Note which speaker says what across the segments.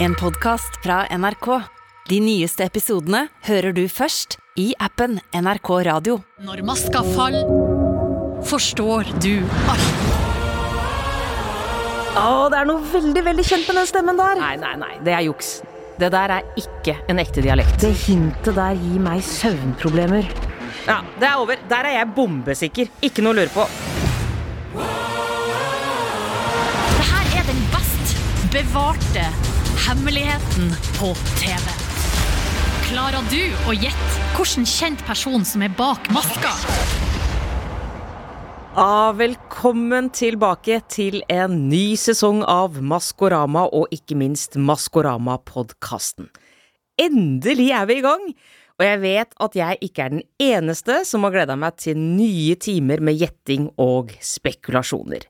Speaker 1: En podcast fra NRK. De nyeste episodene hører du først i appen NRK Radio.
Speaker 2: Når maska faller, forstår du alt.
Speaker 3: Å, det er noe veldig, veldig kjent med den stemmen der.
Speaker 4: Nei, nei, nei, det er juks. Det der er ikke en ekte dialekt.
Speaker 3: Det hintet der gir meg søvnproblemer.
Speaker 4: Ja, Det er over. Der er jeg bombesikker. Ikke noe å lure på.
Speaker 2: Det her er den best bevarte hemmeligheten på TV. Klarer du å gjette hvilken kjent person som er bak maska?
Speaker 4: Ah, velkommen tilbake til en ny sesong av Maskorama, og ikke minst Maskorama-podkasten. Endelig er vi i gang! Og jeg vet at jeg ikke er den eneste som har gleda meg til nye timer med gjetting og spekulasjoner.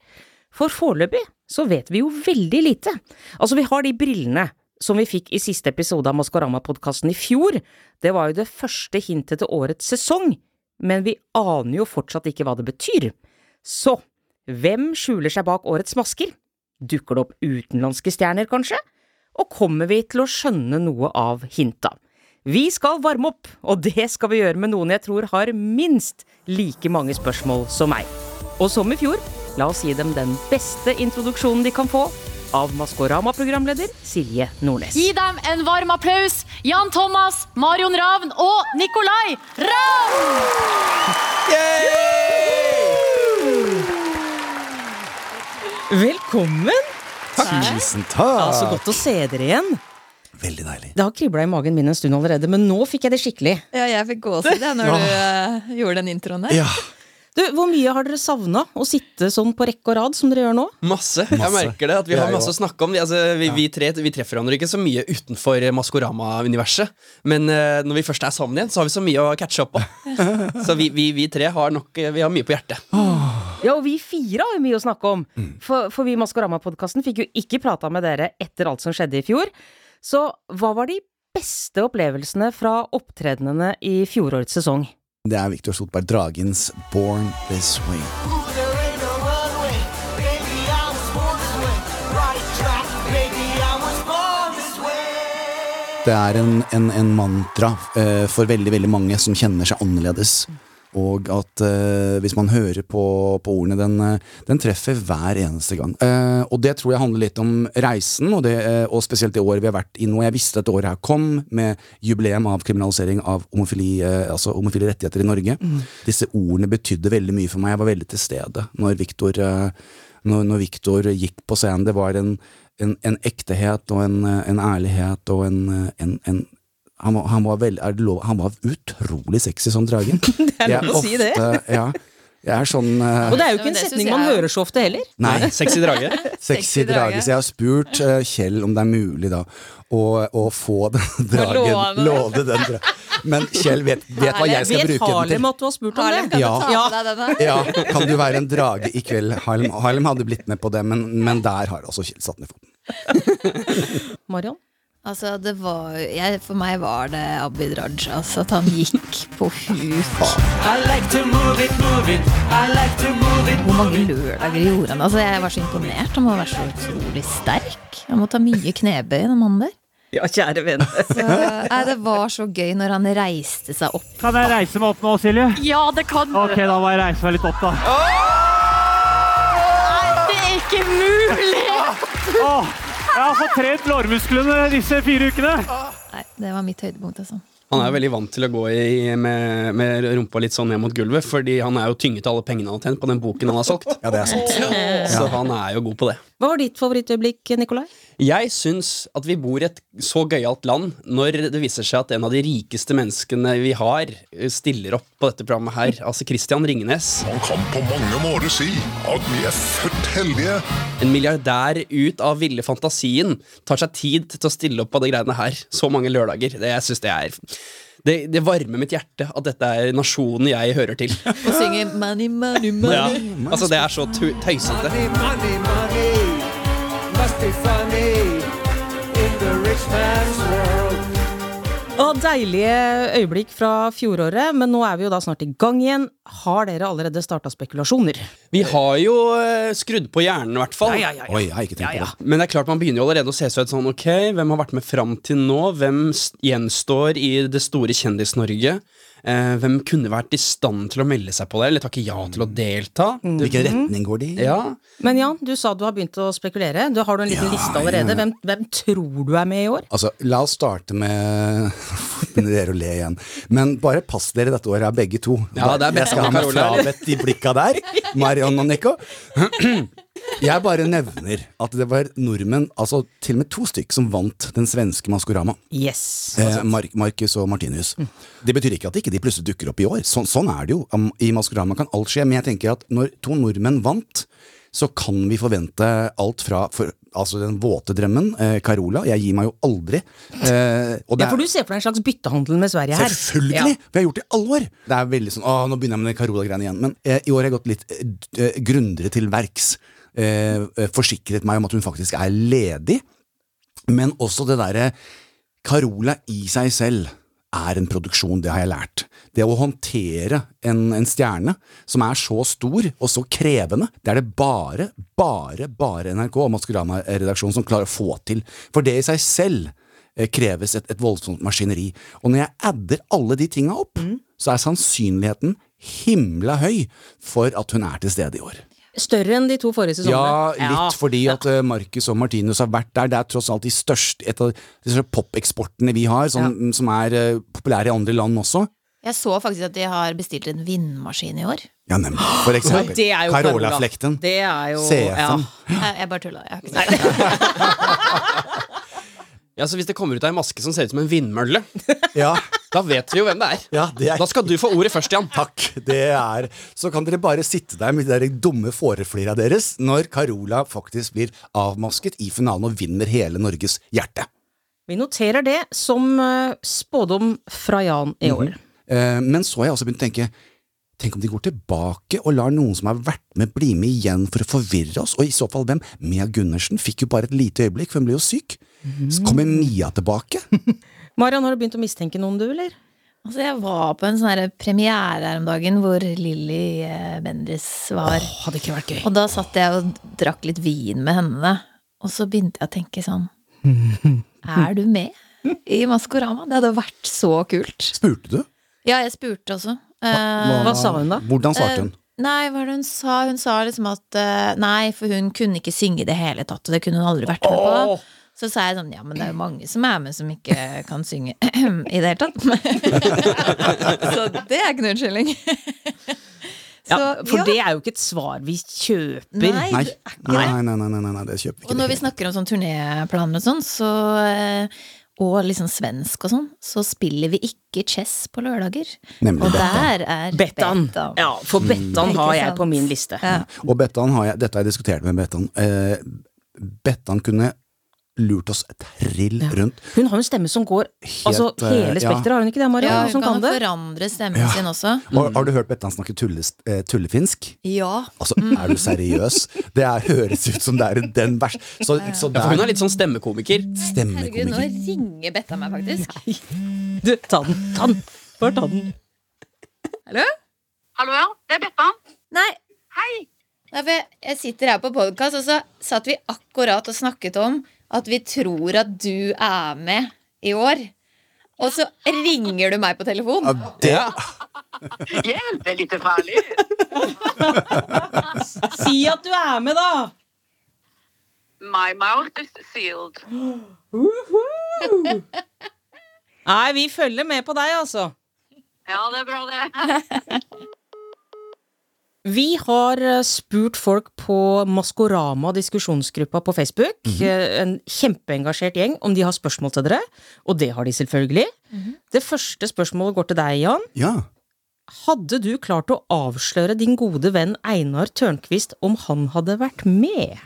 Speaker 4: For foreløpig så vet vi jo veldig lite. Altså, vi har de brillene som vi fikk i siste episode av Maskorama-podkasten i fjor. Det var jo det første hintet til årets sesong, men vi aner jo fortsatt ikke hva det betyr. Så hvem skjuler seg bak årets masker? Dukker det opp utenlandske stjerner, kanskje? Og kommer vi til å skjønne noe av hinta? Vi skal varme opp, og det skal vi gjøre med noen jeg tror har minst like mange spørsmål som meg. Og som i fjor, la oss gi dem den beste introduksjonen de kan få av Maskorama-programleder Silje Nordnes.
Speaker 2: Gi dem en varm applaus. Jan Thomas, Marion Ravn og Nikolai Ravn!
Speaker 4: Velkommen!
Speaker 5: Tusen
Speaker 4: Ja, så
Speaker 5: takk!
Speaker 4: altså godt å se dere igjen.
Speaker 5: Veldig deilig.
Speaker 4: Det har kribla i magen min en stund allerede, men nå fikk jeg det skikkelig.
Speaker 6: Ja, jeg fikk gåsehud jeg, når du eh, gjorde den introen der.
Speaker 5: Ja,
Speaker 4: Du, Hvor mye har dere savna å sitte sånn på rekke og rad som dere gjør nå?
Speaker 7: Masse. Jeg merker det, at Vi har masse å snakke om. Vi, altså, vi, vi, tre, vi treffer hverandre ikke så mye utenfor eh, Maskorama-universet. Men eh, når vi først er sammen igjen, så har vi så mye å catche opp på. så vi, vi, vi tre har nok eh, Vi har mye på hjertet.
Speaker 4: Ja, og vi fire har jo mye å snakke om.
Speaker 5: Mm.
Speaker 4: For, for vi i Maskorama-podkasten fikk jo ikke prata med dere etter alt som skjedde i fjor. Så hva var de beste opplevelsene fra opptredenene i fjorårets sesong?
Speaker 5: Det er Victor Solberg Dragens 'Born This Way'. Det er en, en, en mantra eh, for veldig, veldig mange som kjenner seg annerledes. Og at eh, hvis man hører på, på ordene, den, eh, den treffer hver eneste gang. Eh, og det tror jeg handler litt om reisen, og, det, eh, og spesielt det året vi har vært i nå. Jeg visste at det året her kom, med jubileum av kriminalisering av homofili, eh, altså homofile rettigheter i Norge. Disse ordene betydde veldig mye for meg. Jeg var veldig til stede når Victor, eh, når, når Victor gikk på scenen. Det var en, en, en ektehet og en, eh, en ærlighet og en, eh, en, en han var, han, var veld, er det lov, han var utrolig sexy som dragen. Det
Speaker 4: er lov å si det.
Speaker 5: Ja, jeg er sånn eh,
Speaker 4: Og det er jo
Speaker 6: Ja,
Speaker 4: ikke
Speaker 6: men
Speaker 4: en
Speaker 6: det
Speaker 4: setning
Speaker 6: synes jeg
Speaker 4: man
Speaker 6: er-
Speaker 4: hører så ofte heller.
Speaker 5: Nei,
Speaker 7: Sexy drage.
Speaker 5: sexy drage. Så jeg har spurt eh, Kjell om det er mulig da å, å få den dragen.
Speaker 6: låne den.
Speaker 5: Låne den dragen. Men Kjell vet, vet hva jeg skal
Speaker 4: Vet
Speaker 5: bruke den til.
Speaker 4: Harlem at du har spurt om
Speaker 6: Harlem,
Speaker 4: det?
Speaker 6: kan
Speaker 5: Ja.
Speaker 6: du ta på deg denne?
Speaker 5: Ja, kan du være en drage i kveld? Harlem, Harlem hadde blitt med på det, men, men der har også Kjell satt ned foten.
Speaker 4: Marion?
Speaker 6: Altså, det var, jeg, for meg var det Abid Raja. Altså, at han gikk på huk. Hvor mange lørdager gjorde han det? Altså, jeg var så imponert. Han må være så utrolig sterk. Han må ta mye knebøy, den mannen der.
Speaker 4: Ja, kjære venn.
Speaker 6: Så, nei, det var så gøy når han reiste seg opp.
Speaker 8: Kan jeg reise meg opp nå, Silje?
Speaker 2: Ja, det kan du.
Speaker 8: Ok, da må jeg reise meg litt opp, da.
Speaker 2: Det er ikke mulig!
Speaker 8: Åh, jeg har fått trent lårmusklene disse fire ukene.
Speaker 6: Nei, det var mitt høydepunkt, altså.
Speaker 7: Han er jo veldig vant til å gå i, med, med rumpa litt sånn ned mot gulvet, fordi han er jo tynget av alle pengene han har tjent på den boken han har solgt.
Speaker 5: Ja, det er sant.
Speaker 7: Så han er jo god på det.
Speaker 4: Hva var ditt favorittøyeblikk, Nikolai?
Speaker 7: Jeg syns at vi bor i et så gøyalt land når det viser seg at en av de rikeste menneskene vi har, eh, stiller opp på dette programmet her. Altså Christian Ringnes.
Speaker 9: Man kan på mange måter si at vi er født heldige.
Speaker 7: En milliardær ut av ville fantasien tar seg tid til å stille opp på de greiene her. Så mange lørdager. Det, jeg synes det er det, det varmer mitt hjerte at dette er nasjonen jeg hører til.
Speaker 6: Og synger 'Money, money,
Speaker 7: Ja.
Speaker 6: money'.
Speaker 7: Altså, det er så tu- tøysete.
Speaker 4: Å, deilige øyeblikk fra fjoråret, men nå er vi jo da snart i gang igjen. Har dere allerede starta spekulasjoner?
Speaker 7: Vi har jo eh, skrudd på hjernen, i hvert fall.
Speaker 5: Oi, jeg har ikke tenkt på det.
Speaker 7: Men det er klart man begynner jo allerede å se seg ut sånn Ok, hvem har vært med fram til nå? Hvem s- gjenstår i det store Kjendis-Norge? Eh, hvem kunne vært i stand til å melde seg på det, eller takke ja til å delta?
Speaker 5: Hvilken retning går de i?
Speaker 7: Ja,
Speaker 4: Men Jan, du sa du har begynt å spekulere. Du har du en liten
Speaker 5: Ja,
Speaker 4: liste allerede?
Speaker 5: ja.
Speaker 4: Hvem, hvem tror du er med i år?
Speaker 5: Altså, la oss starte med Begynner dere å le igjen. Men bare pass dere dette året, er begge to.
Speaker 7: Ja, det er
Speaker 5: jeg skal ha meg
Speaker 7: Bette og Carola.
Speaker 5: frabedt de blikka der. Marion og Nico. Jeg bare nevner at det var nordmenn, altså til og med to stykk, som vant den svenske Maskorama.
Speaker 4: Yes.
Speaker 5: Eh, Mark, Markus og Martinus. Det betyr ikke at ikke de plutselig dukker opp i år. Sånn, sånn er det jo. Am- I Maskorama kan alt skje. Men jeg tenker at når to nordmenn vant, så kan vi forvente alt fra for, altså den våte drømmen, eh, Carola. Jeg gir meg jo aldri. Eh, og det
Speaker 4: Ja,
Speaker 5: er-
Speaker 4: for du ser for deg en slags byttehandel med Sverige her?
Speaker 5: Selvfølgelig! Vi har gjort det i alle år. Det er veldig sånn, å, nå begynner jeg med den Carola-greiene igjen. Men eh, i år har jeg gått litt eh, d- eh, grundigere til verks. Eh, eh, forsikret meg om at hun faktisk er ledig. Men også det derre Carola i seg selv er en produksjon, det har jeg lært. Det å håndtere en, en stjerne som er så stor og så krevende, det er det bare, bare, bare NRK og Maskorama-redaksjonen som klarer å få til. For det i seg selv eh, kreves et, et voldsomt maskineri. Og når jeg adder alle de tinga opp, så er sannsynligheten himla høy for at hun er til stede i år.
Speaker 4: Ja. Større enn de to forrige
Speaker 5: Ja,
Speaker 4: sesongene?
Speaker 5: litt fordi at eh, Marcus og Martinus har vært der. Det er tross alt de største, et av de største popeksportene vi har, som, som er eh, populære i andre land også.
Speaker 6: Jeg så faktisk at de har bestilt en vindmaskin i år.
Speaker 5: Ja, nemlig. For eksempel.
Speaker 4: Det er jo
Speaker 5: Carola-flekten.
Speaker 4: Det er jo ja.
Speaker 5: CF-en.
Speaker 6: Jeg, jeg bare tulla. Jeg har ikke sett det.
Speaker 7: ja så Hvis det kommer ut av en maske som ser ut som en vindmølle,
Speaker 5: Ja.
Speaker 7: da vet vi jo hvem det er.
Speaker 5: ja, det er
Speaker 7: Da skal du få ordet først, Jan.
Speaker 5: Takk. Det er Så kan dere bare sitte der med de der dumme fåreflira deres når Carola faktisk blir avmasket i finalen og vinner hele Norges hjerte.
Speaker 4: Vi noterer det som eh, spådom fra Jan i år.
Speaker 5: Eh, Men så har jeg også begynt å tenke Tenk om de går tilbake og lar noen som har vært med, bli med igjen for å forvirre oss? Og i så fall hvem? Mia Gundersen fikk jo bare et lite øyeblikk, for hun ble jo syk. Så kommer Mia tilbake?
Speaker 4: Marian, har du begynt å mistenke noen, du, eller?
Speaker 6: Altså, jeg var på en sånn her premiere her om dagen hvor Lilly eh, Bendriss var.
Speaker 4: Hadde ikke vært gøy.
Speaker 6: Og da satt jeg og drakk litt vin med henne. Og så begynte jeg å tenke sånn Er du med i Maskorama? Det hadde vært så kult.
Speaker 5: Spurte du?
Speaker 6: Ja, jeg spurte også. Eh,
Speaker 4: Hva sa hun da?
Speaker 5: Hvordan svarte hun?
Speaker 6: Nei, hva var det hun sa? Hun sa liksom at eh, nei, for hun kunne ikke synge i det hele tatt, og det kunne hun aldri vært med på. Så sa jeg sånn, ja, men det er jo mange som er med som ikke kan synge i det hele tatt. så det er ikke noen unnskyldning.
Speaker 4: Ja,
Speaker 6: Så,
Speaker 4: for
Speaker 6: ja.
Speaker 4: det er jo ikke et svar vi kjøper.
Speaker 6: Nei,
Speaker 5: Nei.
Speaker 6: det Eh, er ikke det.
Speaker 5: Nei, nei, nei, nei, nei, nei, det kjøper vi ikke.
Speaker 6: Og når
Speaker 5: det
Speaker 6: vi
Speaker 5: kjøper
Speaker 6: snakker om sånn turnéplaner og sånn, så eh, og liksom svensk og sånn, så spiller vi ikke chess på lørdager.
Speaker 5: Nemlig
Speaker 6: og
Speaker 5: Bettan. Mm.
Speaker 6: der er
Speaker 4: Bettan. Ja, for Bettan
Speaker 6: Ikke
Speaker 4: har jeg
Speaker 6: sant?
Speaker 4: på min liste.
Speaker 6: Ja.
Speaker 5: vi. Og Bettan har jeg, dette har jeg diskutert med Bettan. Eh, Bettan kunne lurt oss trill rundt.
Speaker 4: Hun har jo en stemme som går altså,
Speaker 5: eh,
Speaker 4: hele
Speaker 5: ja.
Speaker 4: spekteret, har hun ikke det, Marian?
Speaker 6: Ja,
Speaker 4: som
Speaker 6: hun
Speaker 4: kan
Speaker 6: kan jo
Speaker 4: det?
Speaker 6: forandre stemmen sin også.
Speaker 5: Har, har du hørt Bettan snakke tulles, eh, tullefinsk?
Speaker 6: Ja.
Speaker 5: Altså, er du seriøs? Det er, høres ut som det er den verste så, så
Speaker 7: Ja, for hun
Speaker 5: der
Speaker 7: er litt sånn stemmekomiker.
Speaker 6: Herregud, nå
Speaker 5: stemmekomiker.
Speaker 6: ringer Betta meg faktisk.
Speaker 4: Du, ta den, ta den! Bare ta den.
Speaker 10: Hallo, ja. Det er Bettan.
Speaker 6: Nei. Nei, for jeg- jeg sitter her på podkast, og så satt vi akkurat og snakket om at vi tror at du er med i år. Og så ringer du meg på telefon.
Speaker 5: Ja, det,
Speaker 10: Hjelp, det er litt farlig.
Speaker 4: Si at du er med, da!
Speaker 10: My mouth is sealed.
Speaker 4: Nei, vi følger med på deg, altså.
Speaker 10: Ja, det er bra, det.
Speaker 4: Vi har eh, spurt folk på Maskorama diskusjonsgruppa på Facebook, eh, en kjempeengasjert gjeng, om de har spørsmål til dere. Og det har de selvfølgelig. Det første spørsmålet går til deg, Jan.
Speaker 5: ja.
Speaker 4: Hadde du klart å avsløre din gode venn Einar Tørnquist om han hadde vært med?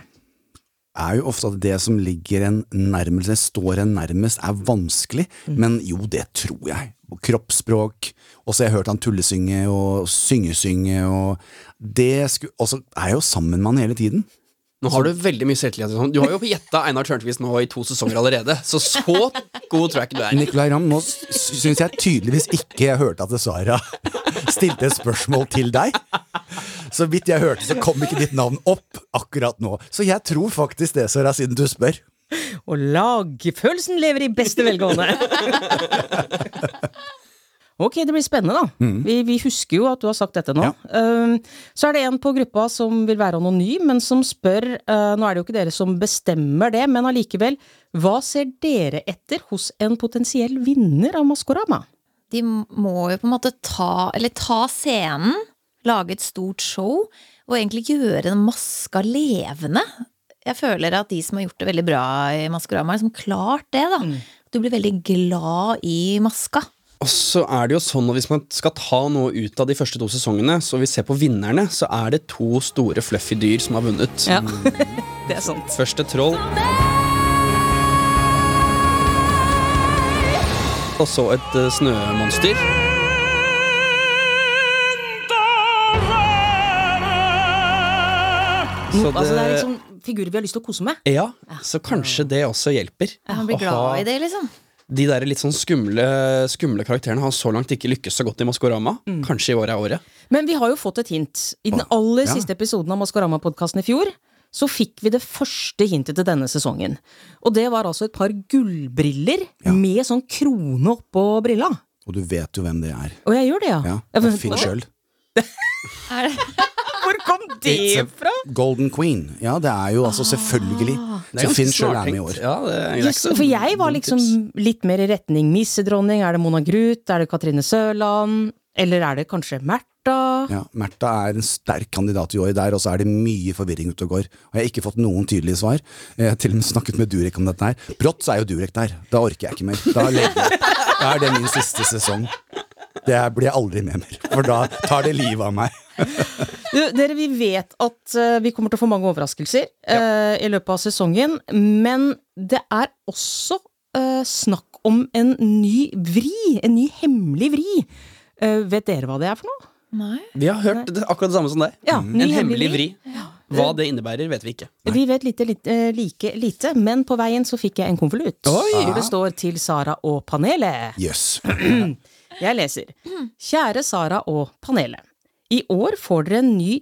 Speaker 5: er jo ofte at det som ligger en nærmest, står en nærmest, er vanskelig.
Speaker 7: Mm.
Speaker 5: Men jo, det tror jeg. Og kroppsspråk. Og så har jeg hørt han tullesynge og syngesynge og det skulle, Og så er jeg jo sammen med han hele tiden.
Speaker 7: Nå har du veldig mye selvtillit. og sånn. Du har jo gjetta Einar Tørnquist nå i to sesonger allerede, så så god tror jeg ikke du er.
Speaker 5: Nicolay Ramm, nå syns jeg tydeligvis ikke jeg hørte at Sara stilte et spørsmål til deg. Så vidt jeg hørte, så kom ikke ditt navn opp akkurat nå. Så jeg tror faktisk det, Sara, siden du spør.
Speaker 4: Og lagfølelsen lever i beste velgående. Ok, det blir spennende, da. Vi, vi husker jo at du har sagt dette nå.
Speaker 5: Ja.
Speaker 4: Um, så er det en på gruppa som vil være anonym, men som spør uh, Nå er det jo ikke dere som bestemmer det, men allikevel. Hva ser dere etter hos en potensiell vinner av Maskorama?
Speaker 6: De må jo på en måte ta, eller ta scenen, lage et stort show, og egentlig gjøre den maska levende. Jeg føler at de som har gjort det veldig bra i Maskorama, har liksom klart det, da. Du blir veldig glad i maska.
Speaker 7: Og så er det jo sånn at Hvis man skal ta noe ut av de første to sesongene, så vi ser på vinnerne, så er det to store fluffy dyr som har vunnet.
Speaker 4: Ja, det er sant.
Speaker 7: Først et troll. Og så et eh, snømonster. Så
Speaker 4: Altså, det er liksom figurer vi har lyst til å kose med.
Speaker 7: Ja, så kanskje det også hjelper.
Speaker 6: Man blir
Speaker 7: Å ha
Speaker 6: glad i det, liksom.
Speaker 7: De der litt sånn skumle, skumle karakterene har så langt ikke lykkes så godt i Maskorama.
Speaker 6: Mm.
Speaker 7: Kanskje i år er året.
Speaker 4: Men vi har jo fått et hint. I den aller
Speaker 5: Ja.
Speaker 4: siste episoden av Maskorama-podkasten i fjor så fikk vi det første hintet til denne sesongen. Og det var altså et par gullbriller med sånn krone oppå brilla.
Speaker 5: Og du vet jo hvem det er.
Speaker 4: Og jeg gjør det, ja.
Speaker 5: Ja,
Speaker 4: Jeg
Speaker 5: det
Speaker 4: vet-
Speaker 5: er Finn sjøl.
Speaker 4: Hvor kom det fra?
Speaker 5: Golden Queen. Ja, det er jo altså selvfølgelig.
Speaker 7: Det er
Speaker 5: Så
Speaker 7: ganske
Speaker 5: Finn sjøl er med i
Speaker 7: snartenkt.
Speaker 5: år.
Speaker 7: Ja, det er
Speaker 4: Just,
Speaker 5: um,
Speaker 4: for jeg var liksom litt mer i retning missedronning. Er det Mona Gruth? Er det Katrine Sørland? Eller er det kanskje Märtha?
Speaker 5: Ja, Märtha er en sterk kandidat i år der, og så er det mye forvirring ute og går. Og jeg har ikke fått noen tydelige svar. Jeg har til og med snakket med Durek om dette her. Brått så er jo Durek der. Da orker jeg ikke mer. Da, legger jeg. da er det min siste sesong. Det her blir jeg aldri med mer, for da tar det livet av meg.
Speaker 4: Du, dere, vi vet at eh, vi kommer til å få mange overraskelser eh, i løpet av sesongen, men det er også eh, snakk om en ny vri, en ny hemmelig vri. Eh, vet dere hva det er for noe?
Speaker 6: Nei.
Speaker 7: Vi har hørt det, akkurat det samme som deg. Mm.
Speaker 4: Ja, ny
Speaker 7: En hemmelig vri.
Speaker 4: vri.
Speaker 7: Hva det innebærer, vet vi ikke.
Speaker 4: Vi vet lite, lite, eh, like lite, men på veien så fikk jeg en konvolutt. Hvor det står til Sara og panelet.
Speaker 5: Jøss.
Speaker 4: Jeg leser. Kjære Sara og panelet. I år får dere en ny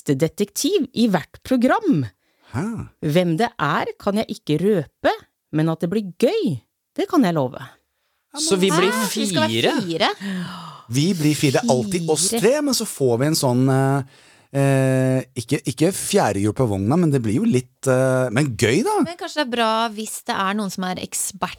Speaker 4: gjestedetektiv i hvert program.
Speaker 5: Hæ?
Speaker 4: Hvem det er, kan jeg ikke røpe, men at det blir gøy, det kan jeg love.
Speaker 7: Så vi blir
Speaker 6: Hæ? Ah, Vi skal
Speaker 7: fire.
Speaker 6: være fire.
Speaker 5: Vi blir fire. Det er alltid oss tre, men så får vi en sånn eh, eh, Ikke, ikke fjerdehjul på vogna, men det blir jo litt eh, Men gøy, da!
Speaker 6: Men kanskje det er bra hvis det er noen som er ekspert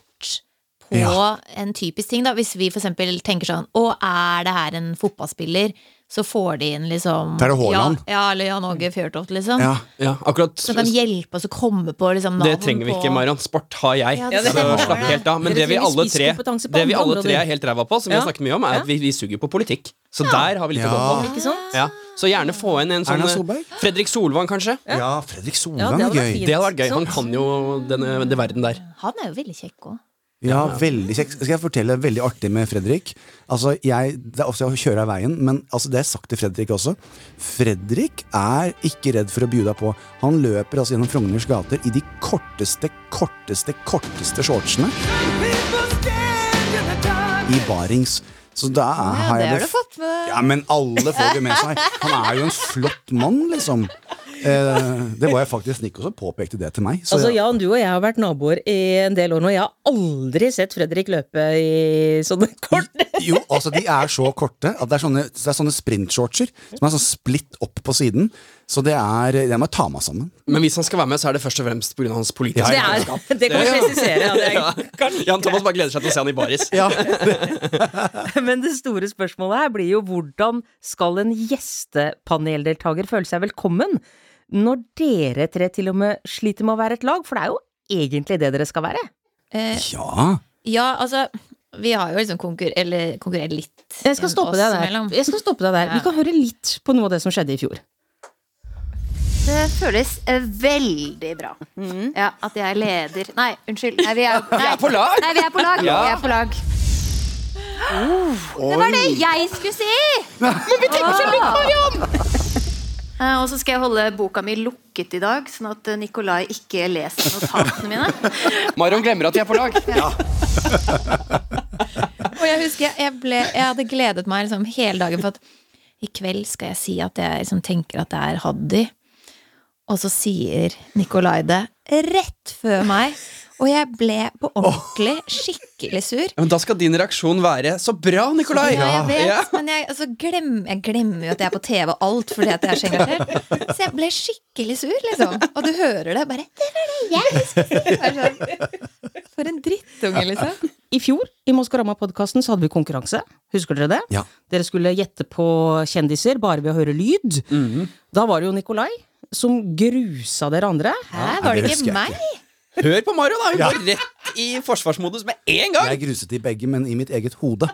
Speaker 6: på
Speaker 5: Ja.
Speaker 6: en typisk ting, da. Hvis vi for eksempel tenker sånn Å, er det her en fotballspiller? Så får de inn liksom
Speaker 5: Der er Haaland.
Speaker 6: Ja, ja, eller Jan Åge Fjørtoft, liksom.
Speaker 5: Ja.
Speaker 7: Ja, akkurat
Speaker 6: Som kan hjelpe oss å komme på liksom,
Speaker 7: Det
Speaker 6: navn
Speaker 7: trenger vi
Speaker 6: på-
Speaker 7: ikke, Marion. Sport har jeg.
Speaker 6: Ja, det
Speaker 7: så
Speaker 6: stemmer.
Speaker 7: slapp helt av. Men
Speaker 4: Dere
Speaker 7: det vi
Speaker 4: trenger
Speaker 7: alle tre,
Speaker 4: spisskompetanse på
Speaker 7: det vi
Speaker 4: andre
Speaker 7: alle tre
Speaker 4: områder.
Speaker 7: er helt ræva på, som vi
Speaker 4: Ja.
Speaker 7: har snakket mye om, er
Speaker 4: Ja.
Speaker 7: at vi, vi suger på politikk. Så der har vi litt
Speaker 5: Ja.
Speaker 7: å gå på.
Speaker 4: Ikke sant?
Speaker 7: Ja. Så gjerne få inn en sånn
Speaker 5: Erna
Speaker 7: eh,
Speaker 5: Solberg?
Speaker 7: Fredrik Solvang, kanskje.
Speaker 5: Ja, Fredrik
Speaker 4: Ja,
Speaker 5: Solvang
Speaker 4: det
Speaker 5: er
Speaker 4: hadde vært
Speaker 5: gøy.
Speaker 4: fint.
Speaker 7: Det hadde vært gøy.
Speaker 4: Sant?
Speaker 7: Han kan jo den, den verden der.
Speaker 6: Han er jo veldig kjekk òg.
Speaker 5: Ja, veldig kjekk. Skal jeg fortelle veldig artig med Fredrik? Altså, jeg, det er ofte jeg kjører av veien, men altså, det har jeg sagt til Fredrik også. Fredrik er ikke redd for å by deg på. Han løper altså gjennom Frogners gater i de korteste, korteste, korteste shortsene. I barings. Så da er,
Speaker 6: Ja,
Speaker 5: har
Speaker 6: det
Speaker 5: jeg
Speaker 6: har
Speaker 5: det
Speaker 6: du fått med.
Speaker 5: Ja, men alle får det med seg. Han er jo en flott mann, liksom. Eh, det var jeg faktisk Nico som påpekte det til meg. Så
Speaker 4: Altså,
Speaker 5: jeg-
Speaker 4: Jan, du og jeg har vært naboer i en del år nå. Jeg har aldri sett Fredrik løpe i sånne kort.
Speaker 5: Jo, altså de er så korte at det er sånne, det er sånne sprintshortser som er sånn splitt opp på siden. Så det er Jeg må ta meg sammen.
Speaker 7: Men hvis han skal være med, så er det først og fremst pga. hans politiske
Speaker 4: Det, er, det kan vi presisere. Ja, det er,
Speaker 7: Ja. Jan Thomas bare gleder seg til å se han i baris.
Speaker 4: Men det store spørsmålet her blir jo hvordan skal en gjestepaneldeltaker føle seg velkommen når dere tre til og med sliter med å være et lag? For det er jo egentlig det dere skal være.
Speaker 6: Eh,
Speaker 5: Ja.
Speaker 6: ja, altså Vi har jo liksom konkur eller, konkurrert litt.
Speaker 4: Jeg skal stoppe
Speaker 6: oss
Speaker 4: deg der.
Speaker 6: imellom.
Speaker 4: Jeg skal stoppe deg der. Vi kan høre litt på noe av det som skjedde i fjor.
Speaker 10: Det føles veldig bra.
Speaker 6: Ja, at jeg er leder Nei, unnskyld. Nei, vi er, nei, vi er
Speaker 7: på lag.
Speaker 6: Nei, vi er på lag.
Speaker 7: Ja.
Speaker 6: Vi er på lag. Det var det jeg skulle si! Men vi tenker så litt, Marion!
Speaker 10: Eh, Og så skal jeg holde boka mi lukket i dag, sånn at eh, Nikolai ikke leser notatene mine.
Speaker 7: Marion glemmer at de er på lag.
Speaker 6: Og jeg husker jeg, jeg, ble, jeg hadde gledet meg liksom hele dagen for at i kveld skal jeg si at jeg liksom tenker at det er Haddy. Og så sier Nikolai det rett før meg. Og jeg ble på ordentlig skikkelig sur.
Speaker 7: Ja, men da skal din reaksjon være 'så bra, Nikolai'!
Speaker 6: Ja, jeg vet,
Speaker 7: Ja.
Speaker 6: men jeg, altså, glem, jeg glemmer jo at jeg er på TV og alt fordi at jeg er så engasjert. Så jeg ble skikkelig sur, liksom. Og du hører det bare 'Det var det jeg skulle si!' Bare sånn. For en drittunge, liksom.
Speaker 4: I fjor i Maskorama-podkasten så hadde vi konkurranse. Husker dere det?
Speaker 5: Ja.
Speaker 4: Dere skulle gjette på kjendiser bare ved å høre lyd. Da var det jo Nikolai som grusa dere andre.
Speaker 6: Hæ, var
Speaker 5: det
Speaker 6: det
Speaker 5: husker jeg
Speaker 6: ikke meg?
Speaker 7: Hør på Marion, da! Hun går rett i forsvarsmodus med en gang!
Speaker 5: Jeg gruset i begge, men i mitt eget hode.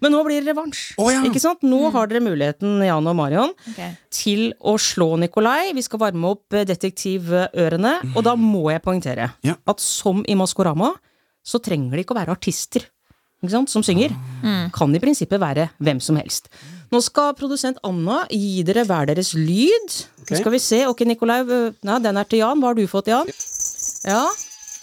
Speaker 4: Men nå blir det revansj.
Speaker 5: Å, ja.
Speaker 4: Ikke sant? Nå har dere muligheten, Jan og Marion,
Speaker 6: Ok.
Speaker 4: til å slå Nikolai. Vi skal varme opp eh, detektivørene,
Speaker 7: Mm.
Speaker 4: og da må jeg poengtere
Speaker 5: Ja.
Speaker 4: at som i Maskorama så trenger det ikke å være artister ikke sant, som synger. Kan i prinsippet være hvem som helst. Nå skal produsent Anna gi dere hver deres lyd. Nå skal vi se. Ok, Nikolai, øh, nei, den er til Jan. Hva har du fått, Jan? Ja,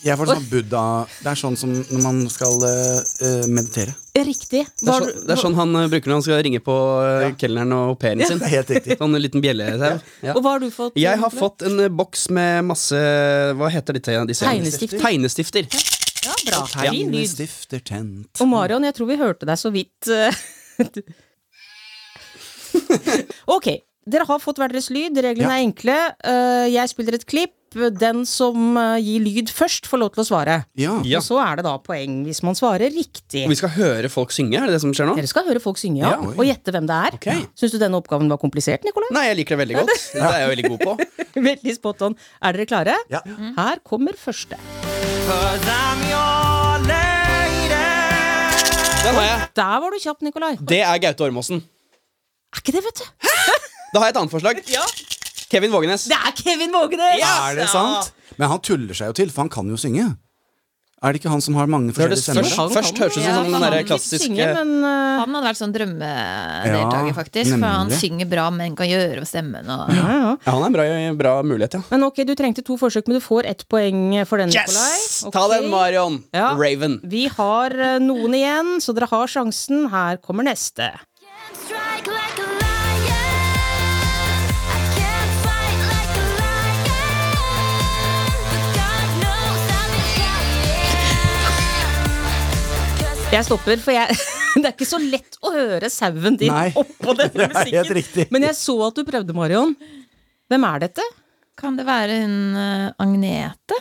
Speaker 5: Jeg får sånn buddha Det er sånn som når man skal eh, eh, meditere.
Speaker 4: riktig.
Speaker 7: Det
Speaker 4: Hva
Speaker 7: er,
Speaker 4: har
Speaker 7: så,
Speaker 4: du-
Speaker 7: det er sånn han eh, bruker når han skal ringe på eh, kelneren og au pairen sin.
Speaker 5: Det er helt riktig.
Speaker 7: Sånn en liten bjelle. der. Ja.
Speaker 4: Og hva har du fått?
Speaker 7: Jeg har
Speaker 4: Nikolai?
Speaker 7: fått en eh, boks med masse Hva heter dette? Disse
Speaker 4: Tegnestifter.
Speaker 7: Tegnestifter.
Speaker 4: Ja, bra. Fin lyd.
Speaker 5: Tegnestifter tent.
Speaker 4: Og Marion, jeg tror vi hørte deg så vidt. eh. ok, dere har fått hver deres lyd. Reglene
Speaker 5: Ja.
Speaker 4: er enkle. Eh, jeg spiller et klipp. Den som eh, gir lyd først, får lov til å svare.
Speaker 5: Ja.
Speaker 7: Ja.
Speaker 4: Og så er det da poeng hvis man svarer riktig.
Speaker 7: Og vi skal høre folk synge, er det det som skjer nå?
Speaker 4: Dere skal høre folk synge, ja.
Speaker 5: Ja, oi.
Speaker 4: og gjette hvem det er.
Speaker 7: Ok.
Speaker 4: Syns du denne oppgaven var komplisert, Nikolai?
Speaker 7: Nei, jeg liker det veldig godt. Det er jeg veldig god på.
Speaker 4: Veldig spot on. Er dere klare?
Speaker 5: Ja.
Speaker 4: Her kommer første.
Speaker 7: Den har jeg.
Speaker 4: Der var du kjapp, Nikolai.
Speaker 7: Det er Gaute Ormåsen.
Speaker 4: Er ikke det, vet du?
Speaker 7: Da har jeg et annet forslag. Kevin Vågenes.
Speaker 4: Det er Kevin Vågenes!
Speaker 5: Er det sant? Men han tuller seg jo til, for han kan jo synge. Er det ikke han som har mange
Speaker 7: Det høres
Speaker 5: forskjellige
Speaker 7: først,
Speaker 5: stemmer?
Speaker 4: Han
Speaker 7: først
Speaker 4: kan-
Speaker 7: høres ut
Speaker 6: Ja,
Speaker 7: som
Speaker 6: han
Speaker 7: sånn
Speaker 6: kan
Speaker 7: der
Speaker 6: litt
Speaker 7: klassisk
Speaker 4: Synge,
Speaker 7: eh,
Speaker 4: men eh,
Speaker 6: Han hadde vært sånn drømmedeltaker,
Speaker 5: Ja,
Speaker 6: faktisk. For han
Speaker 5: nemlig.
Speaker 6: synger bra, men kan gjøre opp stemmen. Og...
Speaker 7: Ja, han er en bra, bra mulighet, ja.
Speaker 4: Men ok, du trengte to forsøk, men du får ett poeng for den, Nikolai.
Speaker 7: Yes!
Speaker 4: Ok.
Speaker 7: Ta den, Marion.
Speaker 4: Ja.
Speaker 7: Raven.
Speaker 4: Vi har eh, noen igjen, så dere har sjansen. Her kommer neste. Jeg stopper, for jeg Det er ikke så lett å høre sauen din
Speaker 5: Nei.
Speaker 4: oppå
Speaker 5: Det
Speaker 4: denne
Speaker 5: er helt
Speaker 4: musikken.
Speaker 5: riktig.
Speaker 4: Men jeg så at du prøvde, Marion. Hvem er dette?
Speaker 6: Kan det være hun eh, Agnete?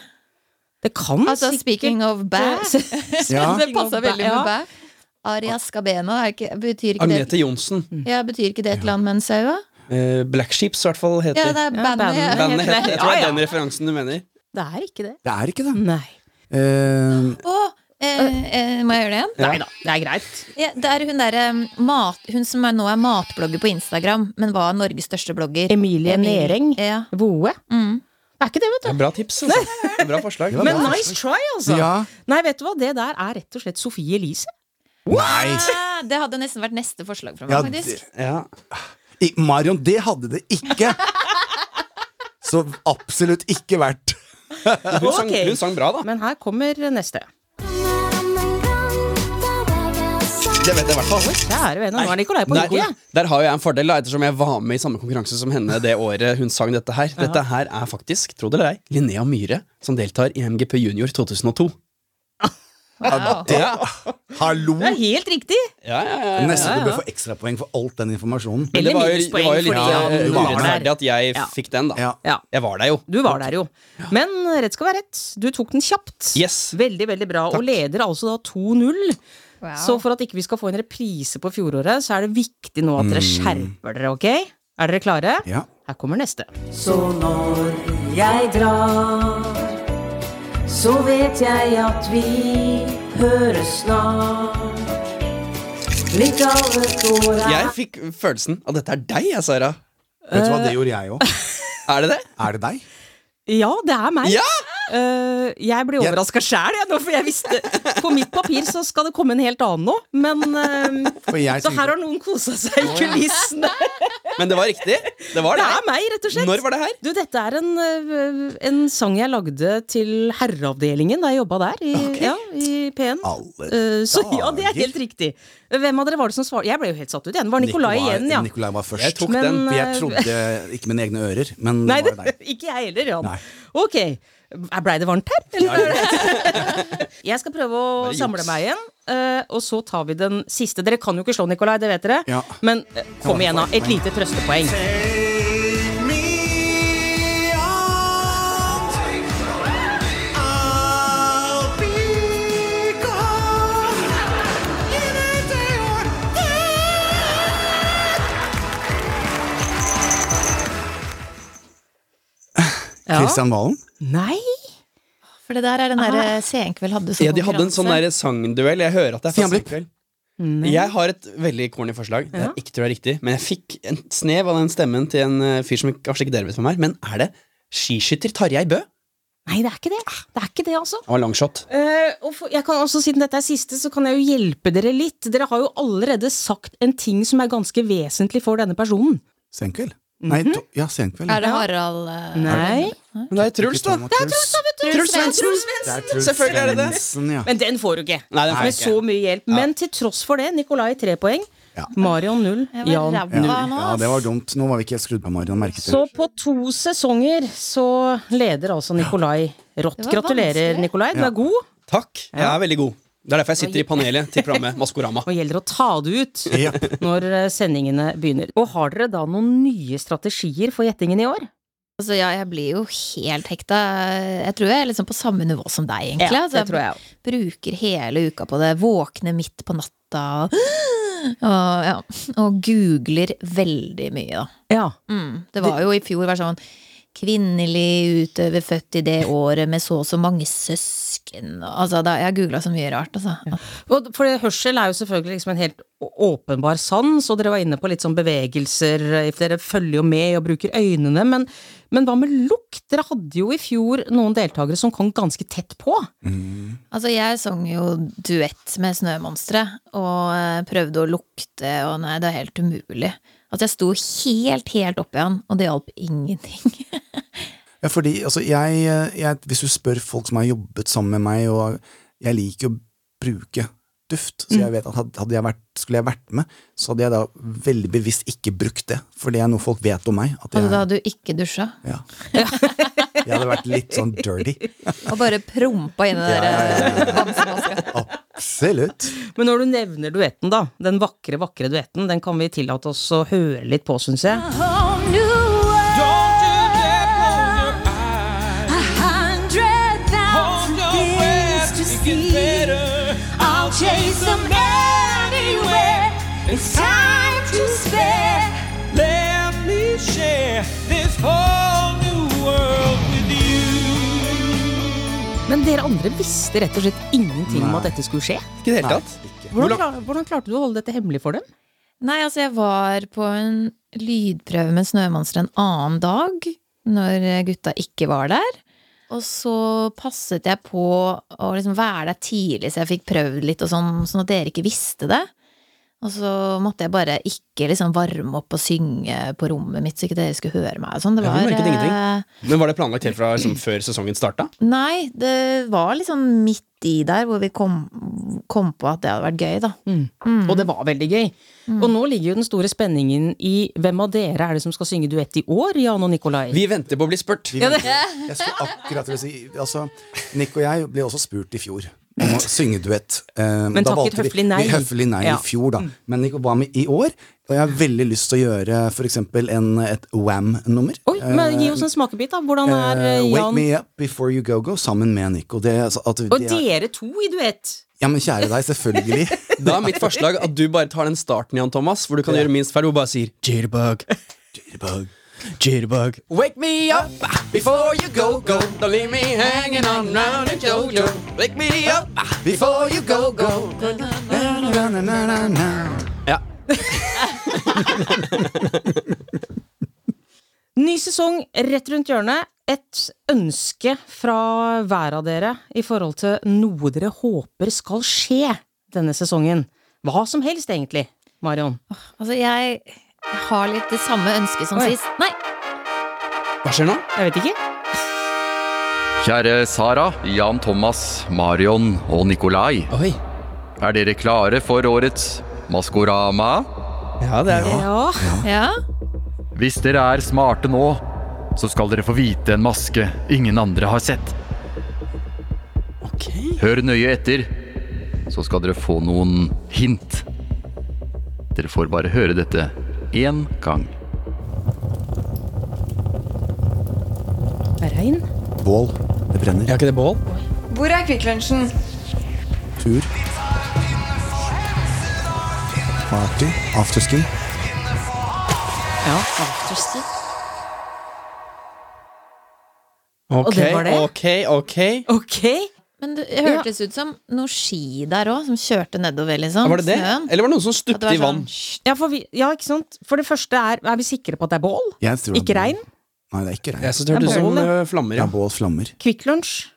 Speaker 4: Det kan
Speaker 6: Altså,
Speaker 4: sikkert-
Speaker 6: speaking of bæ.
Speaker 5: Ja.
Speaker 6: Det passer veldig med
Speaker 4: Ja.
Speaker 6: bæ. Arias Scabena er ikke, betyr, ikke det, Mm.
Speaker 7: Agnete Johnsen.
Speaker 6: ja, betyr ikke det et eller annet med en sau? da?
Speaker 7: Eh, Black Sheeps, i hvert fall, heter
Speaker 6: Ja, det er bandet.
Speaker 4: bandet.
Speaker 6: Ja,
Speaker 7: bandet. Heter. Jeg tror
Speaker 4: Ja,
Speaker 7: det er
Speaker 4: ja.
Speaker 7: den referansen du mener.
Speaker 4: Det er ikke det.
Speaker 5: Det er ikke det.
Speaker 4: Nei.
Speaker 5: Eh,
Speaker 6: Å, eh, eh, må jeg gjøre det igjen?
Speaker 4: Nei da, det er greit.
Speaker 6: Ja, det er hun, der, eh, mat, hun som er, nå er matblogger på Instagram, men var Norges største blogger.
Speaker 4: Emilie Nering.
Speaker 6: Ja.
Speaker 4: Voe.
Speaker 6: Mm.
Speaker 4: Det er ikke det, vet
Speaker 7: Det
Speaker 4: du.
Speaker 7: er bra tips. Altså. Det er bra forslag.
Speaker 5: var
Speaker 4: Men
Speaker 5: bra.
Speaker 4: nice try, altså.
Speaker 5: ja.
Speaker 4: Nei, vet du hva, det der er rett og slett Sofie Elise.
Speaker 5: Nei!
Speaker 6: Ah, Det hadde nesten vært neste forslag fra meg,
Speaker 5: Ja,
Speaker 6: faktisk.
Speaker 5: det-
Speaker 7: Ja.
Speaker 5: i- Marion, det hadde det ikke! Så absolutt ikke verdt.
Speaker 7: Hun, sang,
Speaker 4: Ok.
Speaker 7: hun sang bra, da.
Speaker 4: Men her kommer neste.
Speaker 7: Det vet jeg i hvert fall.
Speaker 4: Kjære vene, nå er Nikolai på
Speaker 7: Der,
Speaker 4: hugget.
Speaker 7: der har jo jeg en fordel, da, ettersom jeg var med i samme konkurranse som henne det året hun sang dette her. Dette her er faktisk, tro det eller ei, Linnea Myhre som deltar i MGP Junior 2002.
Speaker 6: Wow.
Speaker 5: Det, hallo!
Speaker 4: Det er helt riktig.
Speaker 7: Ja, ja, ja.
Speaker 5: Nesten du bør få ekstrapoeng for alt den informasjonen.
Speaker 7: Men det
Speaker 4: Eller
Speaker 7: var jo, det
Speaker 4: minuspoeng
Speaker 7: var jo litt
Speaker 4: fordi
Speaker 5: han
Speaker 7: eh,
Speaker 5: var
Speaker 7: urettferdig
Speaker 4: der.
Speaker 7: at jeg
Speaker 4: Ja.
Speaker 7: fikk den, da.
Speaker 5: Ja.
Speaker 4: Ja,
Speaker 7: Jeg var der jo.
Speaker 4: du var der jo. Men rett skal være rett. Du tok den kjapt.
Speaker 7: Yes.
Speaker 4: Veldig, veldig bra. Og leder altså da 2-0.
Speaker 6: Wow.
Speaker 4: Så for at ikke vi skal få en reprise på fjoråret, så er det viktig nå at dere skjerper dere, ok? Er dere klare?
Speaker 5: Ja.
Speaker 4: Her kommer neste.
Speaker 3: Så når jeg drar, så vet jeg at vi høres snart. Mitt alle tårer
Speaker 7: Jeg fikk følelsen av at dette er deg, jeg, Sara.
Speaker 5: Vet du hva, det gjorde jeg òg.
Speaker 7: Er det det?
Speaker 5: Er det deg?
Speaker 4: Ja, det er meg.
Speaker 7: Ja!
Speaker 4: Eh, jeg ble overraska sjæl, jeg, nå, for jeg visste På mitt papir så skal det komme en helt annen nå, men eh,
Speaker 5: For jeg
Speaker 4: Så
Speaker 5: tenkte-
Speaker 4: her har noen kosa seg i kulissene.
Speaker 7: Men det var riktig. Det var
Speaker 4: Det
Speaker 7: det.
Speaker 4: er meg, rett og slett.
Speaker 7: Når var det her?
Speaker 4: Du, dette er en, øh, en sang jeg lagde til herreavdelingen da jeg jobba der, i, ja, i P1.
Speaker 5: Alle
Speaker 4: Eh, så ja, det er
Speaker 5: dager.
Speaker 4: helt riktig. Hvem av dere var det som svarte? Jeg ble jo helt satt ut igjen. Det var Nikolai igjen, ja.
Speaker 5: Nikolai var først.
Speaker 7: Jeg tok
Speaker 4: Men,
Speaker 7: den.
Speaker 5: For jeg
Speaker 4: eh,
Speaker 5: trodde ikke mine egne ører, men
Speaker 4: Nei,
Speaker 5: det var
Speaker 4: det,
Speaker 5: deg.
Speaker 4: ikke jeg heller, Jan.
Speaker 5: Nei.
Speaker 4: Ok. Blei det varmt her? Eller? jeg skal prøve å
Speaker 7: Bare juks.
Speaker 4: samle meg igjen, eh, og så tar vi den siste. Dere kan jo ikke slå Nikolai, det vet dere.
Speaker 5: Ja.
Speaker 4: Men eh, kom igjen, da. Et lite trøstepoeng. Ja.
Speaker 5: Kristian Valen?
Speaker 4: Nei!
Speaker 6: For det der er den der Senkveld hadde som
Speaker 7: Ja, de hadde en sånn
Speaker 6: konkurranse. Mm.
Speaker 7: der sangduell. Jeg hører at det er
Speaker 5: Stian
Speaker 7: fast
Speaker 5: Blipp.
Speaker 7: kveld. Jeg har et veldig corny forslag. Det er ikke tror jeg er riktig, men jeg fikk en snev av den stemmen til en eh, fyr som kanskje ikke dere vet hvem er. Men er det skiskytter Tarjei Bø?
Speaker 4: Nei, det er ikke det. Det er ikke det, altså.
Speaker 7: Det var longshot.
Speaker 4: Eh, og for, jeg kan også, Siden dette er siste, så kan jeg jo hjelpe dere litt. Dere har jo allerede sagt en ting som er ganske vesentlig for denne personen.
Speaker 5: Senkveld? Nei, to, ja, Senkveld.
Speaker 6: Er det Harald eh,
Speaker 4: Nei.
Speaker 7: Men det er Truls, da.
Speaker 5: Det er Truls, da, vet du!
Speaker 7: Truls Svendsen. Selvfølgelig er det det.
Speaker 5: Ja.
Speaker 4: Men den får du ikke.
Speaker 7: Nei, den får
Speaker 4: Med
Speaker 7: jeg
Speaker 4: så
Speaker 7: ikke.
Speaker 4: mye hjelp. Men til tross for det, Nikolai tre poeng,
Speaker 5: Ja.
Speaker 4: Marion null,
Speaker 6: Jeg var
Speaker 4: Jan
Speaker 6: ræva
Speaker 4: null.
Speaker 6: nå,
Speaker 5: ja,
Speaker 6: ass.
Speaker 5: det var dumt. Nå var vi ikke helt skrudd på Marion, merket
Speaker 4: Så
Speaker 5: jeg.
Speaker 4: på to sesonger så leder altså Nikolai rått.
Speaker 6: Det var
Speaker 4: Gratulerer,
Speaker 6: vanskelig.
Speaker 4: Nikolai. Du er god.
Speaker 7: Takk. Jeg er veldig god. Det er derfor jeg sitter i panelet til programmet Maskorama.
Speaker 4: Nå gjelder det å ta det ut
Speaker 5: Ja.
Speaker 4: når eh, sendingene begynner. Og har dere da noen nye strategier for gjettingen i år?
Speaker 6: Altså, ja, jeg blir jo helt hekta. Jeg tror jeg er liksom på samme nivå som deg, egentlig.
Speaker 4: Ja,
Speaker 6: Altså,
Speaker 4: det tror jeg òg.
Speaker 6: Bruker hele uka på det. Våkner midt på natta og, og, ja, og googler veldig mye, da.
Speaker 4: Ja.
Speaker 6: Mm. Det var jo i fjor var sånn Kvinnelig utøver født i det året med så og så mange søsken og- Altså, da, jeg googla så mye rart, altså.
Speaker 4: Og for det, hørsel er jo selvfølgelig liksom en helt å- åpenbar sans, og dere var inne på litt sånn bevegelser, eh, for dere følger jo med og bruker øynene, men, men hva med lukt? Dere hadde jo i fjor noen deltakere som kom ganske tett på.
Speaker 6: Altså, jeg sang jo duett med Snømonsteret, og eh, prøvde å lukte, og nei, det er helt umulig. At jeg sto helt, helt oppi han, og det hjalp ingenting.
Speaker 5: Ja, fordi altså, jeg, jeg Hvis du spør folk som har jobbet sammen med meg, og jeg liker å bruke duft, så jeg vet at had- hadde jeg vært, skulle jeg vært med, så hadde jeg da veldig bevisst ikke brukt det. For det er noe folk vet om meg. At
Speaker 6: Altså,
Speaker 5: jeg,
Speaker 6: da hadde du ikke dusja,
Speaker 5: ja. jeg hadde vært litt sånn dirty.
Speaker 6: og bare prompa inn i det der eh, bamsemaska.
Speaker 5: Absolutt.
Speaker 4: Men når du nevner duetten da, den vakre, vakre duetten, den kan vi tillate oss å høre litt på, synes jeg. Men dere andre visste rett og slett ingenting om at dette skulle skje.
Speaker 7: Ikke i det hele tatt.
Speaker 4: Hvordan, klar, hvordan klarte du å holde dette hemmelig for dem?
Speaker 6: Nei, altså jeg var på en lydprøve med Snømonster en annen dag, når gutta ikke var der. Og så passet jeg på å liksom være der tidlig, så jeg fikk prøvd litt, og sånn, sånn at dere ikke visste det. Og så måtte jeg bare ikke liksom varme opp og synge på rommet mitt, så ikke dere skulle høre meg. og Sånn. Det
Speaker 7: Ja, vi
Speaker 6: var,
Speaker 7: merket ingenting.
Speaker 6: eh,
Speaker 7: Men var det planlagt helt fra liksom, før sesongen starta?
Speaker 6: Nei, det var liksom midt i der hvor vi kom, kom på at det hadde vært gøy, da.
Speaker 4: Mm.
Speaker 5: Mm.
Speaker 4: Og det var veldig gøy. Og nå ligger jo den store spenningen i hvem av dere er det som skal synge duett i år, Jan og Nikolai?
Speaker 7: Vi venter på å bli spurt.
Speaker 5: Vi venter. Jeg skulle akkurat til å si altså, Nick og jeg ble også spurt i fjor om å synge duett. Eh,
Speaker 4: Mm. Men
Speaker 5: da
Speaker 4: takket
Speaker 5: valgte vi-
Speaker 4: høflig nei.
Speaker 5: Vi høflig nei
Speaker 4: Ja. Mm.
Speaker 5: i fjor, da. Men Nico var med i år, og jeg har veldig lyst til å gjøre for eksempel en, et Wam-nummer.
Speaker 4: Oi, men Gi oss en smakebit, da. Hvordan er eh,
Speaker 5: Eh, Wake
Speaker 4: Jan
Speaker 5: Me Up Before You Go Go sammen med Nico. Det, altså, at
Speaker 4: Og
Speaker 5: det er,
Speaker 4: dere to i duett!
Speaker 5: ja, men kjære deg, selvfølgelig.
Speaker 7: Da er mitt forslag at du bare tar den starten, Jan Thomas, hvor du kan gjøre minst feil, hvor du bare sier jitterbug. Jitterbug. Jitterbug. Wake me up before you go go. Don't leave me hanging on round a jojo. Wake me up before you go go.
Speaker 5: Na-na-na-na-na.
Speaker 7: Ja.
Speaker 4: Ny sesong rett rundt hjørnet. Et ønske fra hver av dere i forhold til noe dere håper skal skje denne sesongen. Hva som helst, egentlig. Marion.
Speaker 6: Altså, jeg har litt det samme ønsket som
Speaker 4: Oi.
Speaker 6: sist. Nei,
Speaker 7: Hva skjer nå?
Speaker 4: Jeg vet ikke.
Speaker 11: Kjære Sara, Jan Thomas, Marion og Nikolai.
Speaker 7: Oi.
Speaker 11: Er dere klare for årets Maskorama?
Speaker 7: Ja, det er
Speaker 4: Ja.
Speaker 6: ja.
Speaker 11: Hvis dere er smarte nå, så skal dere få vite en maske ingen andre har sett.
Speaker 7: Ok.
Speaker 11: Hør nøye etter, så skal dere få noen hint. Dere får bare høre dette én gang.
Speaker 4: Regn.
Speaker 5: Bål. Det brenner.
Speaker 7: Er ikke det bål?
Speaker 3: Hvor er Kvikk Lunsjen?
Speaker 5: Tur. Party. Afterski.
Speaker 4: Ja, afterski.
Speaker 7: Ok,
Speaker 4: det var det?
Speaker 7: ok, ok.
Speaker 4: Ok.
Speaker 6: Men det hørtes ut som noe ski der òg, som kjørte nedover, liksom.
Speaker 7: Var det det?
Speaker 6: Snøen.
Speaker 7: Eller var det noen som
Speaker 6: At det
Speaker 7: stupte
Speaker 6: var
Speaker 7: i vann?
Speaker 6: sånn,
Speaker 4: Ja, for vi, ja, ikke sant. For det første er Er vi sikre på at det er bål?
Speaker 5: Jeg tror det er
Speaker 4: Ikke
Speaker 5: bål.
Speaker 4: regn?
Speaker 5: Nei, det er ikke regn.
Speaker 7: Jeg synes det hørtes ut som eh, flammer,
Speaker 5: Det
Speaker 7: ja.
Speaker 5: er bål flammer.
Speaker 4: Kvikk Lunsj?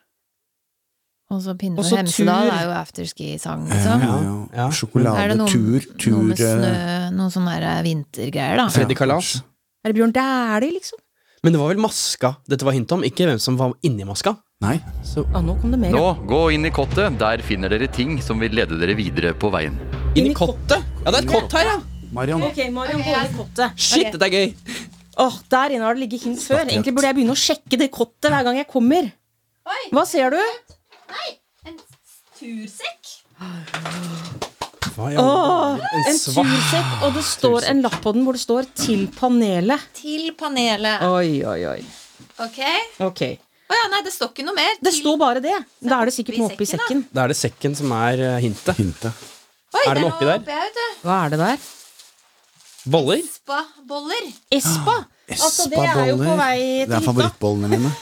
Speaker 6: Og så pinne
Speaker 4: Og så
Speaker 6: for Hemsedal
Speaker 4: tur.
Speaker 6: er jo afterski-sang, liksom.
Speaker 5: Ja, ja.
Speaker 7: Ja.
Speaker 6: Er det
Speaker 5: Sjokolade,
Speaker 6: noe,
Speaker 5: tur, tur
Speaker 6: noe med
Speaker 5: eh,
Speaker 6: snø, noe sånn der vintergreier, da?
Speaker 7: Freddy Kalas.
Speaker 5: kanskje.
Speaker 4: Er det Bjørn Dæhlie, liksom?
Speaker 7: Men det var vel maska dette var hint om, ikke hvem som var inni maska.
Speaker 5: Nei.
Speaker 4: Ja, Ah, nå kom det mer.
Speaker 11: Nå, gå inn i kottet. Der finner dere ting som vil lede dere videre på veien.
Speaker 7: Inni kottet? Ja, det er et kott her, ja!
Speaker 5: Marion.
Speaker 4: Ok, Marion, gå over kottet.
Speaker 7: Shit, dette er gøy!
Speaker 4: Åh, Der inne har det ligget hint før. Egentlig burde jeg begynne å sjekke det kottet hver gang jeg kommer. Hva ser du?
Speaker 7: Hva i all verden?
Speaker 4: En
Speaker 7: En svart
Speaker 4: tursekk, og det står en lapp på den hvor det står 'Til panelet'.
Speaker 6: Til panelet.
Speaker 4: Oi, oi, oi.
Speaker 6: Ok?
Speaker 4: Ok.
Speaker 6: Å ja, nei, det står ikke noe mer.
Speaker 4: Det
Speaker 6: Til-
Speaker 4: står bare det. Da er det sikkert noe oppi
Speaker 6: Oppi sekken,
Speaker 4: sekken.
Speaker 7: Da er det sekken som er eh, hintet.
Speaker 5: Hintet.
Speaker 6: Oi,
Speaker 7: Er det noe oppi der?
Speaker 6: oppi her, vet du.
Speaker 4: Hva er det der?
Speaker 7: Boller?
Speaker 6: Spaboller.
Speaker 4: Espa! Altså, det er jo på
Speaker 5: Espaboller.
Speaker 4: vei
Speaker 5: Det er
Speaker 4: til hytta.
Speaker 5: favorittbollene mine.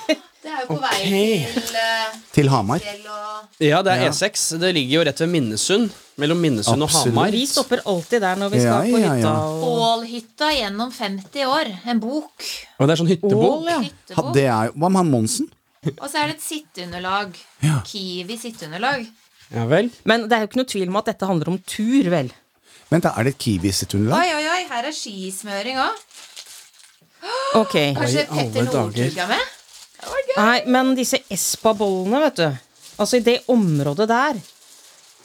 Speaker 6: Det er jo på
Speaker 7: Ok.
Speaker 6: vei til eh,
Speaker 5: Til Hamar.
Speaker 6: fjell og
Speaker 7: Ja, det er E6. Det ligger jo rett ved Minnesund. Mellom Minnesund
Speaker 5: Absolutt.
Speaker 7: og Hamar.
Speaker 4: Vi stopper alltid der når vi
Speaker 5: Ja,
Speaker 4: skal på
Speaker 5: ja,
Speaker 4: hytta.
Speaker 5: ja.
Speaker 4: Og...
Speaker 6: Ålhytta gjennom 50 år. En bok.
Speaker 7: Og det er sånn hyttebok.
Speaker 4: Ål, ja.
Speaker 5: Ha,
Speaker 6: Hyttebok.
Speaker 5: det er jo Hva med han Monsen?
Speaker 6: Og så er det et sitteunderlag.
Speaker 5: Ja.
Speaker 6: Kiwi sitteunderlag.
Speaker 7: Ja vel.
Speaker 4: Men det er jo ikke noe tvil om at dette handler om tur, vel?
Speaker 5: Vent, da, er det et Kiwi sitt underlag?
Speaker 6: Oi, oi, oi, her er skismøring òg.
Speaker 4: Ok.
Speaker 6: Kanskje
Speaker 7: Oi, alle
Speaker 6: Petter Northug
Speaker 7: dager.
Speaker 6: er med?
Speaker 4: Nei, men disse Espa-bollene, vet du. Altså, i det området der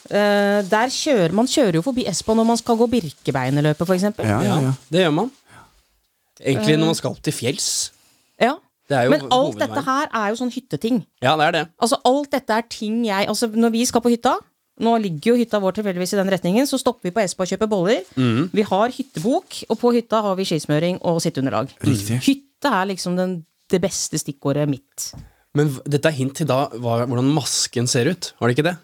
Speaker 4: eh, Der kjører Man kjører jo forbi Espa når man skal gå Birkebeinerløpet, for eksempel.
Speaker 5: Ja, ja,
Speaker 7: Ja,
Speaker 5: ja.
Speaker 7: det gjør man.
Speaker 4: Eh.
Speaker 7: Egentlig når man skal opp til fjells.
Speaker 4: Ja.
Speaker 7: Det er jo
Speaker 4: Men alt
Speaker 7: hovedveien.
Speaker 4: dette her er jo sånn hytteting.
Speaker 7: Ja, det er det.
Speaker 4: Altså, alt dette er ting jeg Altså, når vi skal på hytta Nå ligger jo hytta vår tilfeldigvis i den retningen, så stopper vi på Espa og kjøper boller.
Speaker 7: Mm.
Speaker 4: Vi har hyttebok, og på hytta har vi skismøring og sitteunderlag.
Speaker 5: Riktig.
Speaker 4: Hytte er liksom den, det beste stikkordet mitt.
Speaker 7: Men v- dette er hint til da hva, hvordan masken ser ut. Var det ikke det?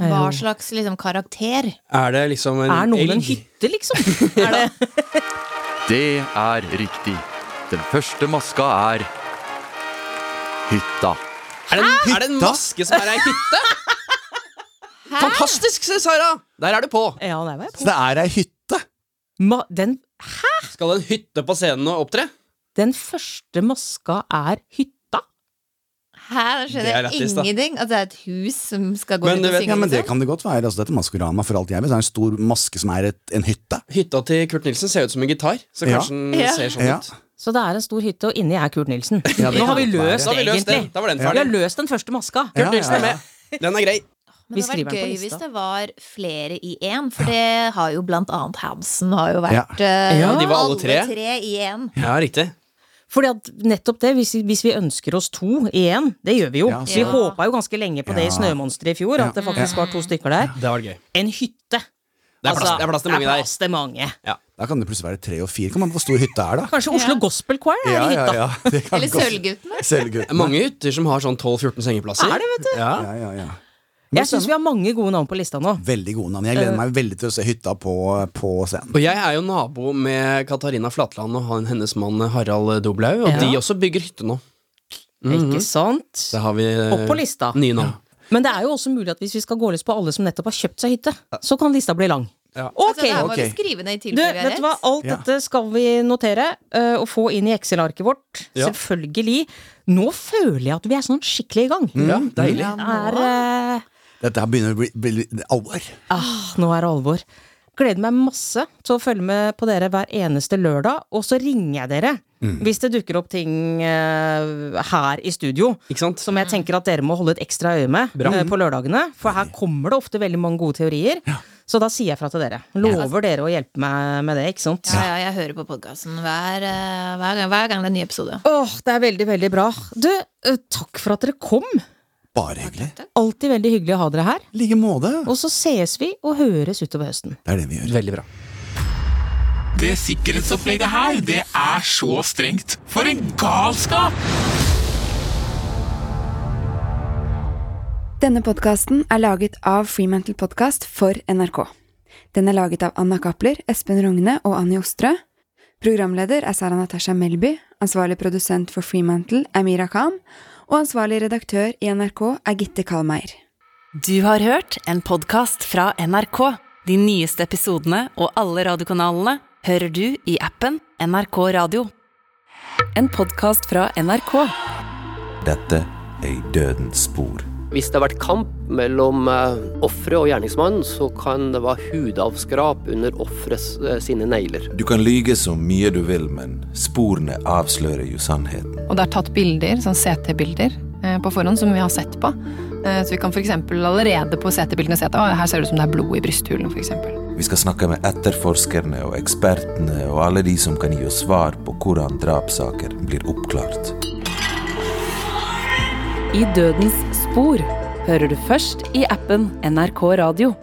Speaker 6: Hva slags liksom, karakter?
Speaker 7: Er det liksom en
Speaker 4: Er noen en
Speaker 7: elg?
Speaker 4: hytte, liksom? Er det
Speaker 11: Det er riktig. Den første maska er hytta.
Speaker 7: Er det, en, er det en maske som er ei hytte? Fantastisk, sier Sara! Der er du på.
Speaker 4: Ja, der var jeg på.
Speaker 5: Så det er ei hytte!
Speaker 4: Ma, den
Speaker 7: Skal en hytte på scenen og opptre?
Speaker 4: Den første maska er hytta.
Speaker 6: Hæ, da skjønner
Speaker 7: Det er
Speaker 6: jeg
Speaker 7: lættis, da.
Speaker 6: ingenting. At det er et hus som skal gå
Speaker 7: Men
Speaker 6: rundt
Speaker 7: du
Speaker 6: og
Speaker 7: vet-
Speaker 6: synge.
Speaker 5: Ja, men Det
Speaker 6: liksom.
Speaker 5: kan det godt være. Altså, dette er Maskorama, for alt jeg vet. Det er en stor maske som er et, en hytte.
Speaker 7: Hytta til Kurt Nilsen ser ut som en gitar, så
Speaker 5: Ja.
Speaker 7: kanskje den
Speaker 6: Ja.
Speaker 7: ser sånn
Speaker 5: Ja.
Speaker 7: ut.
Speaker 4: Så det er en stor hytte, og inni er Kurt Nilsen.
Speaker 5: Ja, det
Speaker 4: Nå har
Speaker 5: kan
Speaker 4: vi
Speaker 5: godt være.
Speaker 4: løst
Speaker 7: Da har vi
Speaker 4: det,
Speaker 7: løst den.
Speaker 4: egentlig.
Speaker 7: Da var den
Speaker 4: Vi har
Speaker 7: ferdig.
Speaker 4: løst den første maska.
Speaker 5: Ja,
Speaker 7: Nilsen
Speaker 5: ja,
Speaker 7: er
Speaker 5: ja.
Speaker 7: med. Den er grei.
Speaker 6: Men
Speaker 4: Vi
Speaker 6: det hadde
Speaker 4: skriver den
Speaker 6: vært
Speaker 4: på
Speaker 6: gøy hvis
Speaker 4: lista.
Speaker 6: det var flere i én, for det har jo blant annet Hansen har jo vært eh,
Speaker 7: Ja, de var alle tre.
Speaker 6: i én.
Speaker 7: Ja, riktig.
Speaker 4: Fordi at nettopp det, hvis, hvis vi ønsker oss to igjen, det gjør vi jo.
Speaker 5: Ja, så-
Speaker 4: Vi håpa jo ganske lenge på det i
Speaker 5: Ja.
Speaker 4: Snømonsteret i fjor,
Speaker 5: Ja.
Speaker 4: at det faktisk var to stykker der.
Speaker 7: Det var gøy.
Speaker 4: En hytte. Altså,
Speaker 7: Det er plass, det er plass til mange
Speaker 4: det er
Speaker 7: der.
Speaker 4: plass til mange.
Speaker 5: Da kan det plutselig være tre og fire. Kan man hvor stor hytte er, da?
Speaker 4: Kanskje Oslo Gospel Choir er i hytta.
Speaker 5: Det kan
Speaker 6: Eller
Speaker 5: godt-
Speaker 6: Sølvguttene.
Speaker 7: Det
Speaker 5: Sølvgutten.
Speaker 7: er mange hytter som har sånn 12-14 sengeplasser.
Speaker 4: Er det, vet du?
Speaker 7: Ja.
Speaker 5: Ja, ja, ja.
Speaker 4: Jeg syns vi har mange gode navn på lista nå.
Speaker 5: Veldig gode navn. Jeg gleder meg veldig til å se hytta på, på scenen.
Speaker 7: Og jeg er jo nabo med Katarina Flatland og han- hennes mann Harald Doblaug, og
Speaker 4: Ja.
Speaker 7: de også bygger hytte nå. Mhm.
Speaker 4: Ikke sant?
Speaker 7: Der har vi eh,
Speaker 4: Opp på lista.
Speaker 7: nye navn.
Speaker 4: Men det er jo også mulig at hvis vi skal gå løs på alle som nettopp har kjøpt seg hytte, så kan lista bli lang.
Speaker 6: Altså, det her må
Speaker 4: Ok.
Speaker 6: vi skrive ned i
Speaker 4: Du,
Speaker 6: tilfelle vi har
Speaker 4: vet du hva?
Speaker 6: rett.
Speaker 4: Alt
Speaker 6: Ja.
Speaker 4: dette skal vi notere eh, og få inn i Excel-arket vårt.
Speaker 6: Ja.
Speaker 4: Selvfølgelig. Nå føler jeg at vi er sånn skikkelig i gang.
Speaker 5: Ja, deilig.
Speaker 7: Mm.
Speaker 4: Det er, eh,
Speaker 5: Dette her begynner å bli, bli litt alvor.
Speaker 4: ah, nå er det alvor. Gleder meg masse til å følge med på dere hver eneste lørdag, og så ringer jeg dere
Speaker 5: Mm.
Speaker 4: hvis det dukker opp ting eh, her i studio som jeg tenker at dere må holde et ekstra øye med
Speaker 7: Bra.
Speaker 4: eh, på lørdagene. For her kommer det ofte veldig mange gode teorier. Så da sier jeg fra til dere. Lover dere å hjelpe meg med det, ikke sant?
Speaker 6: Ja, ja, jeg hører på podkasten hver, eh, hver, gang- hver gang det er en ny episode.
Speaker 4: Åh, det er veldig, veldig bra. Du, eh, takk for at dere kom.
Speaker 5: Bare hyggelig.
Speaker 4: Alltid veldig hyggelig å ha dere her.
Speaker 5: Like måte.
Speaker 4: Og så sees vi og høres utover høsten.
Speaker 5: Det er det vi gjør.
Speaker 7: Veldig bra.
Speaker 12: Det sikkerhetsopplegget her, det er så strengt. For en galskap!
Speaker 13: Denne podkasten er laget av Fremantle Podcast for NRK. Den er laget av Anna Kapler, Espen Rogne og Anni Ostrø. Programleder er Sara Natasha Melby, ansvarlig produsent for Fremantle er Mira Khan, og ansvarlig redaktør i NRK er Gitte Kalmeier.
Speaker 1: Du har hørt en podkast fra NRK. De nyeste episodene og alle radiokanalene hører du i appen NRK Radio. En podkast fra NRK.
Speaker 14: Dette er i dødens spor.
Speaker 15: Hvis det har vært kamp mellom eh, offeret og gjerningsmannen, så kan det være hudavskrap under offerets eh, sine negler.
Speaker 14: Du kan lyge så mye du vil, men sporene avslører jo sannheten.
Speaker 16: Og det er tatt bilder, sånn CT-bilder, eh, på forhånd som vi har sett på. Eh, Så vi kan f.eks. allerede på CT-bildene se at «Å, her ser det ut som det er blod i brysthulen, f.eks.
Speaker 14: Vi skal snakke med etterforskerne og ekspertene og alle de som kan gi oss svar på hvordan drapssaker blir oppklart.
Speaker 1: I dødens spor hører du først i appen NRK Radio.